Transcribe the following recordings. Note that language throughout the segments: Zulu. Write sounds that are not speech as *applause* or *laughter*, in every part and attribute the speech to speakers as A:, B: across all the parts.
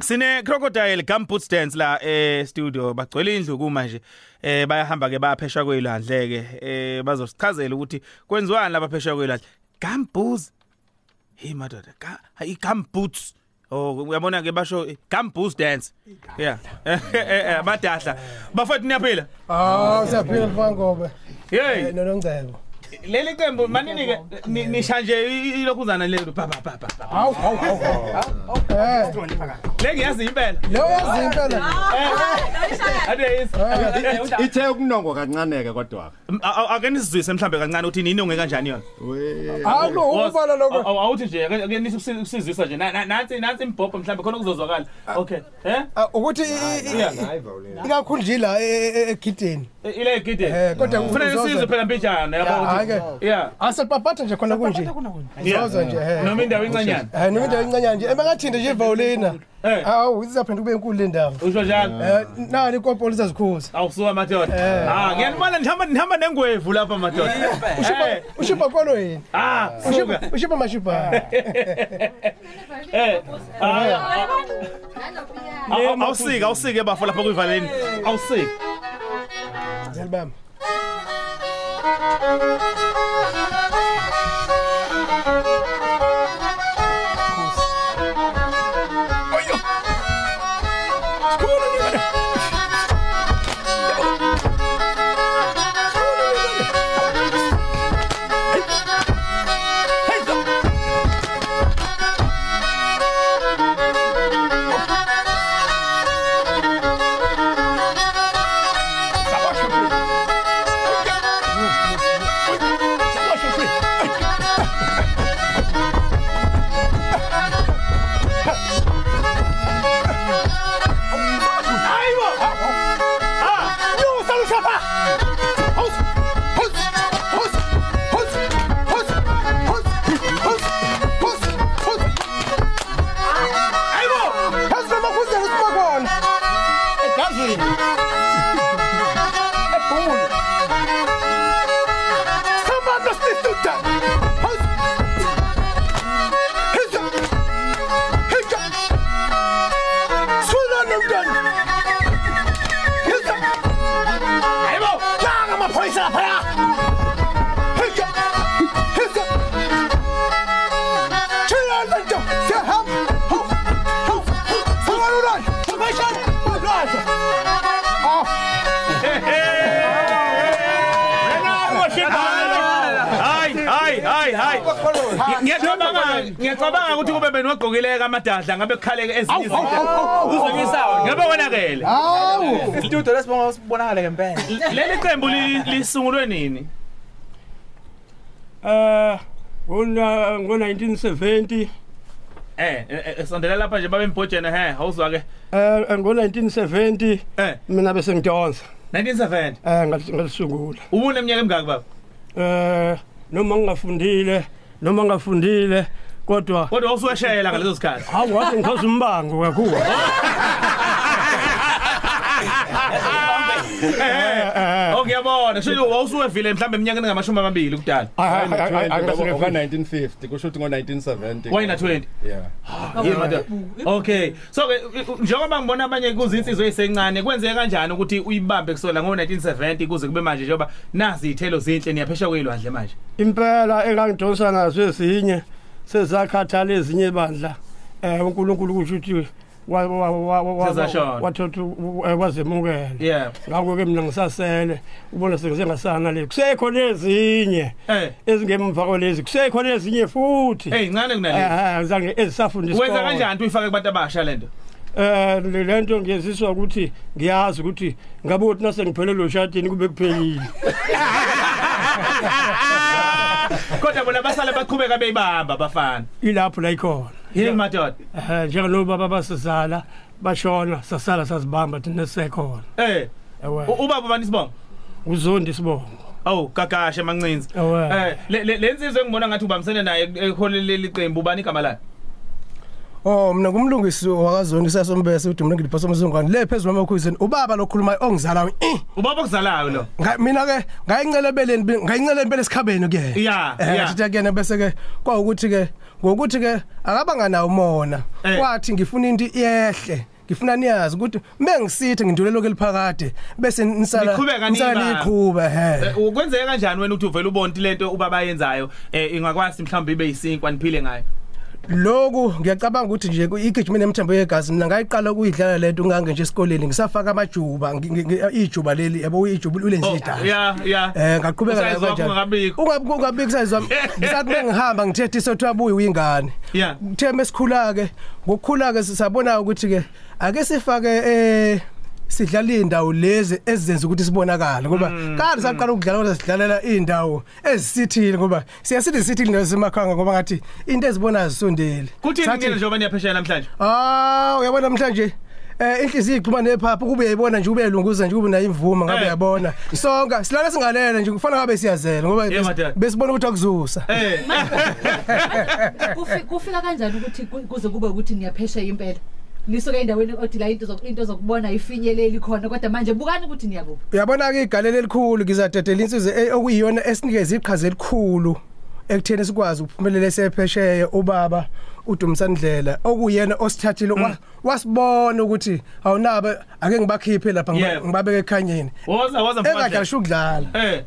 A: sine crocodile gumboots dance la eh studio bagcwele indlu kuma nje eh bayahamba ke bayaphesha kwelwandle ke eh bazosichazela ukuthi kwenziwani lapha phesha kwelwandle gumboots hey madoda ga i gumboots Oh uyabona ke basho eh, gumboots dance yeah eh badahla bafethu niyaphila
B: Ah, siyaphila mfangobe.
A: hey
B: Eh nonongcebo.
A: leli qembu manini ke ni- nisha nje i- ilokhuzana lelo ba ba ba ba
B: Haw haw haw. Eh,
A: lengiyazi impela
B: lo yazinto la.
A: ade is
C: ithe ukunongo kancaneke kodwa
A: ake nisizwise mhlambe kancane ukuthi ninonge kanjani yona
B: Haw lo ubala
A: Aw-
B: lokho.
A: aw- awuthi nje ake ake nisizisa nje Na- na- nansi nansi imbhobho mhlambe khona kuzozwakala okay eh
B: Ah, Ukuthi i- i- ikakhulu nje la e- e- egideni.
A: I- ile gidi
B: Eh, kodwa
A: kufanele
B: uzozwa.
A: nisizwe phela mpijana yabo
B: Ah,
A: ukuthi
B: okay.
A: yeah
B: Asepapatha nje khona kunje.
A: Yeah.
B: Uzozwa nje. eh.
A: noma indawo incanyana
B: Eh noma indawo incanyana nje. Ebekathinde nje iVolina.
A: Eh.
B: Haw izaphinda kube inkulu le ndawo.
A: usho njalo
B: Eh nani ikopo lizazikhuza.
A: awusuka madoda ah ngiyanibala nihamba nihamba nengwevu lapha madoda Eh,
B: Ushipa kwalo yini?
A: ah suka
B: Ushipa mashipa.
A: eh ah
D: Nanopiya.
A: Aw- aw- awusike awusike bafo lapha kuyivaleni awusike
B: Zelibamba. Yazi noma kuzela isibokono.
A: hayi hayi hayi hayi ngiyacabanga ngiyacabanga ukuthi kube benogqokileka amadadla ngabe kukhaleke ezinye
E: Uzongisawa.
A: ngabe wonakele
B: Hawu.
E: Isitudio lesibonga sibonakala ngempela.
A: leli qembu li- lisungulwe nini
F: Eh ngona ngo1970
A: eh eh, eh, sondela lapha nje babe imbhojene he awuzwa ke
F: eh ngo1970
A: eh
F: mina bese ngidonsa
A: 1970
F: eh ngal- ngalisungula
A: ubune eminyaka emingaki baba
F: eh noma ngingafundile noma ngafundile kodwa
A: kodwa wawusuweshayela ngaleso sikhathi
F: hawu wathi ngithoza umbango kakhulu
A: Eh, eh. oh ngiyabona shilo wawusuwevile mhlawumbe eminyakeni ngamashumi amabili kudala
F: Ah,
C: ngo-1950 kusho ukuthi ngo-1970
A: wayina 20
C: yeah
A: Yini madod- Okay. So ke njengoba ngibona abanye kuzinsizwe ezisencane kwenzeke kanjani ukuthi uyibambe kusela ngo1970 kuze kube manje njengoba nazi izithelo zinhle niyaphesha kwelwandle manje.
F: impela engangidonsa nazo ezinye sezakhathala ezinye ibandla eh uNkulunkulu kusho ukuthi wa- wa- wa- wa- wa-
A: Sezashona.
F: wathatha u- eh, wazemukela
A: Yeah.
F: ngakho ke mina ngisasele ubona sengisengasana le kusekhona ezinye
A: Eh.
F: ezingemva kwalezi kusekhona ezinye futhi
A: Hey incane kunale.
F: eh zange ezisafundiswa
A: Wenza kanjani ukuthi uyifake kubantu abasha lento?
F: eh le- lento ngiyeziswa ukuthi ngiyazi ukuthi ngabe uthi nasengiphelelo shadini kube kuphelile
A: Kodwa bona basale baqhubeka beyibamba bafana.
F: ilapho la ikhona
A: Yini madod?
F: eh njengoba basizala bashona sasala sasibamba thina sekhona
A: Eh.
F: ewe
A: u- Ubaba bani sibonga?
F: uzondi sibongo
A: Oh gagashe mancinzi.
F: Ewe.
A: Eh le- le- lensizwe engibona ngathi ubamsene naye eh, eholeleli iqembu bani igama lakhe?
B: Oh mina ngumlungisi wakazoni sasombese uDumile ngilipha somzungwane le phezulu amakhuzini ubaba lokhulumayo ongizalayo eh
A: Ubaba okuzalayo lo.
B: nga- mina ke ngayincelebeleni ngayincelebeleni esikhabeni Eh, kuyena
A: Yeah, yeah.
B: ngathi kuyena bese ke kwawukuthi ke ngokuthi ke akabanga nawo umona
A: Eh.
B: wathi ngifuna into iyehle ngifuna niyazi ukuthi mengisithe ngindulelo ke liphakade bese nisala
A: Niqhubeka niyibala.
B: niqhube he
A: Eh, ukwenzeka kanjani wena ukuthi uvela ubonti lento ubaba ayenzayo eh ingakwasi mhlawumbe ibe yisinkwa niphile ngayo
B: loku ngiyacabanga ukuthi nje igijima nemthambo yegazi mina ngayiqala ukuyidlala lento ngange nje esikoleni ngisafaka amajuba ngi- ngi- ngi- ijuba leli yabo ijuba
A: Oh,
B: ulenjidala
A: yeah yeah
B: Eh ngaqhubeka
A: Usayizi wakho ungakabikho.
B: Ungabikisayizi
A: *laughs*
B: wami. Ngisathi bengihamba ngithethe isothi wabuye uyingane.
A: Yeah.
B: Kuthe mesikhula ke, ngokukhula ke sisabona ukuthi ke ake sifake eh sidlala indawo lezi ezizenza ukuthi sibonakale ngoba
A: Mm,
B: kanti saqala ukudlala kodwa sidlalela indawo ezisithile ngoba siya sithi sithi indawo semakhanga ngoba ngathi into ezibonayo zisondele
A: kuthi
B: Sathi,
A: ngene njengoba niyapheshaya namhlanje
B: Ah, uyabona namhlanje eh inhliziyo iqhuma nephapha kube yayibona nje kube yalunguza nje kube nayo imvuma ngabe
A: Eh.
B: yabona. Sonke silala singalela nje kufana ngabe siyazela ngoba
A: Yeah,
B: bes-
A: madad.
B: besibona ukuthi akuzusa.
A: eh *laughs*
D: Kufi- kufika kanjani ukuthi ku- kuze kube ukuthi niyaphesheya impela nisuke endaweni odila into zoku- into zokubona ifinyeleli khona kodwa manje bukani ukuthi niyakuphi
B: Uyabona ke igalelo elikhulu ngizadedela insizwe eh, okuyiyona esinikeza iqhaza elikhulu ekutheni sikwazi ukuphumelela sephesheya ubaba uDumisandlela okuyena osithathile wa- wasibona ukuthi awunaba ake ngibakhiphe lapha ngiba-
A: Yebo.
B: ngibabeke ekhanyeni.
A: woza woza mfana
B: Engadlasha ukudlala.
A: eh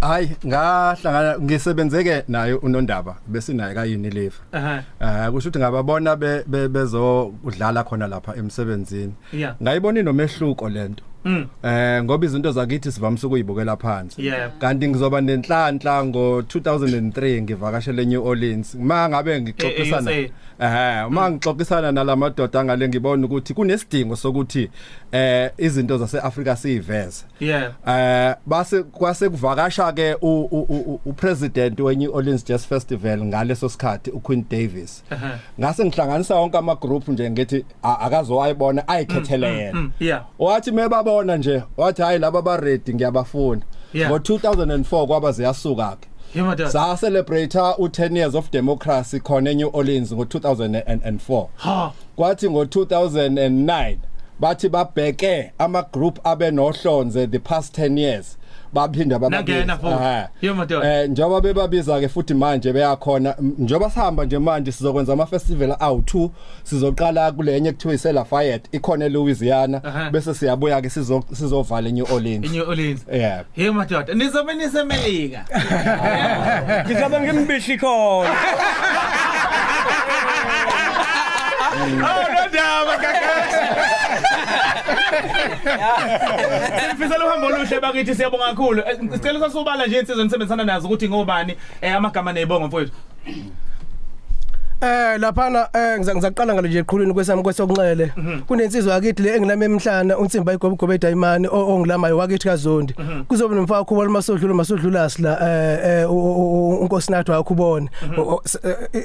C: hayi ngahlangana ngisebenzeke naye unondaba bese naye kayini live
A: aha
C: Eh kusho ukuthi ngababona be- be- bezodlala khona lapha emsebenzini
A: Yeah.
C: ngayibona inomehluko lento
A: mm
C: Eh ngoba izinto zakithi sivamise ukuyibukela phansi.
A: Yeah.
C: Kanti ngizoba nenhlanhla ngo 2003 ngivakashele New Orleans. Uma ngabe ngixoxisana
A: Eh, eh,
C: eh uma ngixoxisana nalamadoda angale ngibona ukuthi kunesidingo sokuthi eh izinto zaseAfrika siveze.
A: yeah
C: Eh base kwase kuvakasha ke u- u- u- u president we New Orleans Jazz Festival ngaleso sikhathi uQueen Davis.
A: Aha.
C: Ngase ngihlanganisa wonke ama group nje ngithi a- akazowayibona ayikhethele yena.
A: mm yeah
C: wathi mebabona nje wathi hayi laba ba ready ngiyabafuna
A: Yeah.
C: ngo2004 kwaba ziyasuka ke
A: yema dad
C: sa celebrate u10 years of democracy khona eNew Orleans ngo2004
A: ha
C: kwathi ngo2009 bathi babheke ama group abenohlonze the past 10 years baphinda
A: Nangena
C: bababiza
A: futhi.
C: Aha.
A: Yo, madoda.
C: eh njoba bebabiza ke futhi manje beyakhona m- njoba sihamba nje manje sizokwenza ama festival awu2 sizoqala kulenye ekuthiwa iselafayette ikhona
A: Aha.
C: eLouisiana bese siyabuya ke sizo- sizovala eNew Orleans
A: inye olins
C: yeah
A: yema dad nizobe nisemelika
F: ngizabe ngimbishi khona
A: Oh no daba *laughs* kakashi. Sifisela uhambo oluhle bakithi siyabonga kakhulu. Eh, Sicela ukusubala nje insizwe nisebenzisana nazo ukuthi ngobani eh, amagama nezibongo mfowethu.
B: Eh laphana eh ngiza- ngizaqala ngalo nje eqhulwini kwesami kwesokunxele kunensizwa yakithi le engilama emhlana unsimba igobugobe edayimani o- ongilamayo wakithi kazondi kuzobe nomfaka khubona masodlula masodlula sila eh eh, u- u- u- unkosinathi wakho ubone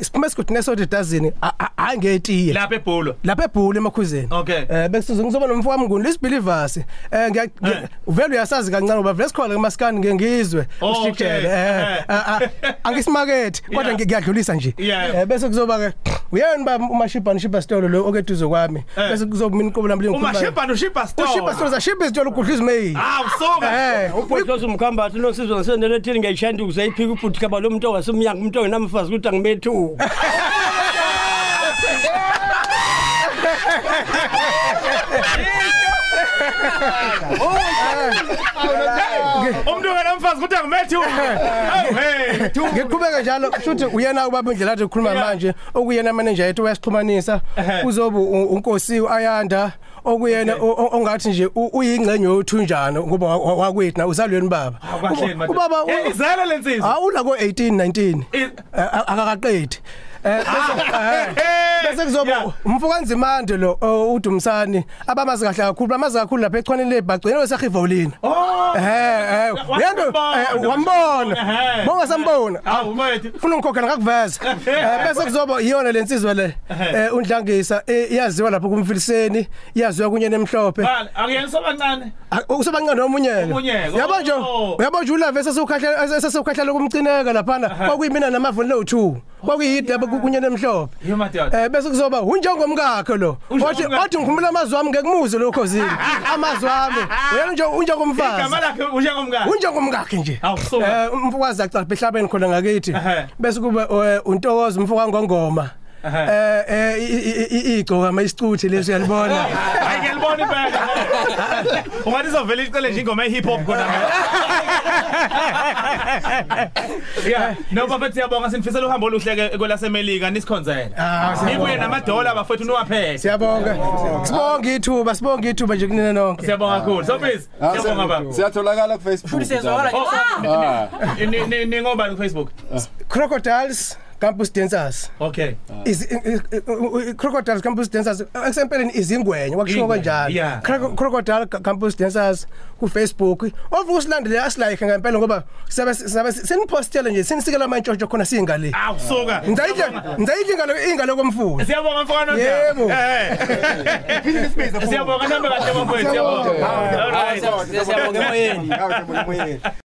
B: siphume sikuthi nesodwa edazini a- a- hayi ngetiye
A: Lapha ebhulo.
B: lapha ebhulu emakhuzeni
A: Okay.
B: eh bekusuze ngizoba nomfowami nguni lisbelievers eh ngiya
A: Eh.
B: uvela uyasazi kancane ngoba vele sikhona emaskani ngengizwe
A: Oh, okay.
B: ushitshele
A: Eh.
B: eh a- a- angisimakethe kodwa
A: Yeah.
B: ngi- ngiyadlulisa nje
A: Yeah.
B: Eh, bese kuzoba ke uyani ba umashibhana shibha stolo lo okeduze kwami
A: Eh.
B: bese kuzoba mina inqobo lami
A: Uma
B: lengikhuluma
A: shepa no shepa store.
B: ushibha stolo zashiba izitolo ukudla izimeyili
A: Ah usoka.
B: eh
F: uphohlosa umkhambati nosizwe nasendele thini ngiyayishanda ukuzayiphika ubhuti khaba lo muntu owasemnyanga umuntu ongenamfazi ukuthi angibethuka
A: Umuntu kanamfazi ukuthi angimethi. Oh hey.
B: ngiqhubeka njalo futhi uyena ubaba indlela athi ukhuluma
A: Yeah.
B: manje okuyena manager yethu uyasixhumanisa
A: Ehhe.
B: kuzoba u- unkosi uyanda okuyena o- o- ongathi nje u- uyingcenye yothunjana ngoba wa- wa- wakwethu na uzalweni baba
A: Akwahleni
B: Uba-
A: madod.
B: ubaba
A: Eh, izela lensizwa.
B: awula ko 18 19
A: I-
B: Ah. Eh, a- akakaqedi Eh,
A: Ah,
B: bese- eh,
A: Eh,
B: bese kuzoba
A: yeah.
B: umfukanzimande lo o- uDumisani abamazi kahle kakhulu bamazi kakhulu lapha echwaneni lebhagcweni wesahivolina
A: Oh.
B: Eh eh
A: Wa-
B: uyando
A: wambona.
B: wambona
A: Ehhe.
B: bonga sambona
A: Awu mate.
B: ufuna ngikhokhela ngakuveza
A: *laughs*
B: Eh, bese kuzoba iyona lensizwe le
A: Ehhe.
B: eh, uNdlangisa eh, iyaziwa lapha kumfiliseni iyaziwa kunye nemhlophe
A: Bani, akuyena kancane.
B: Ah, ukusebancane nomunye
A: Omunye-ke,
B: uyabo nje
A: oh.
B: uyabo nje ulave esesukhahlala esesukhahlala kumcineka laphana kwakuyimina namavuni lo 2 kwakuyidaba kunyana emhlophe
A: Yo madoda.
B: Eh bese kuzoba unjengomkakho lo.
A: Unjongo
B: Wathi
A: mkakho.
B: wathi ngikhumbula amazwi ami ngeke muzwe lokho
A: *laughs*
B: zini. Amazwi ami. Uyena nje
A: Igama
B: unjengomfazi.
A: lakhe unjengomkakhe.
B: Unjengomkakhe nje.
A: Awu, so-
B: Eh umfokazi acaphe ehlabeni khona ngakithi.
A: Ehhe.
B: Bese kuba eh, untokozo umfoka ngongoma.
A: Ehhe.
B: Eh eh igcoka ama isicuthi leso uyalibona.
A: Hayi ngiyalibona impela. Ungathi izovela icele nje ingoma ehip hop khona. Yeah, no baba siyabonga sinifisela uhambo oluhleke kwelasemelika nisikhonzele.
B: Ah, siyabonga.
A: Nibuye namadola bafethu niwaphethe.
B: Siyabonga. Sibonge ithuba, sibonge ithuba nje kunina nonke.
A: Siyabonga kakhulu. So please,
C: Ah,
A: siyabonga baba.
C: Siyatholakala ku Facebook.
E: siyazwakala.
A: Oh,
C: Ah.
A: ni- ni- ni ngoba ku Facebook.
B: Crocodiles Campus Dancers.
A: Okay.
B: is i- i- i- i- crocodile campus dancers eksempeleni izingwenya kwakushiwo
A: Ingwenya,
B: kanjalo
A: yeah.
B: Croco- crocodile Ca- campus dancers ku-facebook ovuka usilandele asilike ngempela ngoba sabe seniphostele nje senisikela amantshontsho khona siyingale
A: Awu suka.
B: ngizayidla ngizayidla ingalo- ingalo komfula
A: Siyabonga mfana
B: Yebo.
A: Eh, Siyabonga nambe kahle bafethu. Siyabonga.
C: Siyabonga.
A: All right.
E: Siyabonga emoyeni.
C: Ngawuthi moyeni.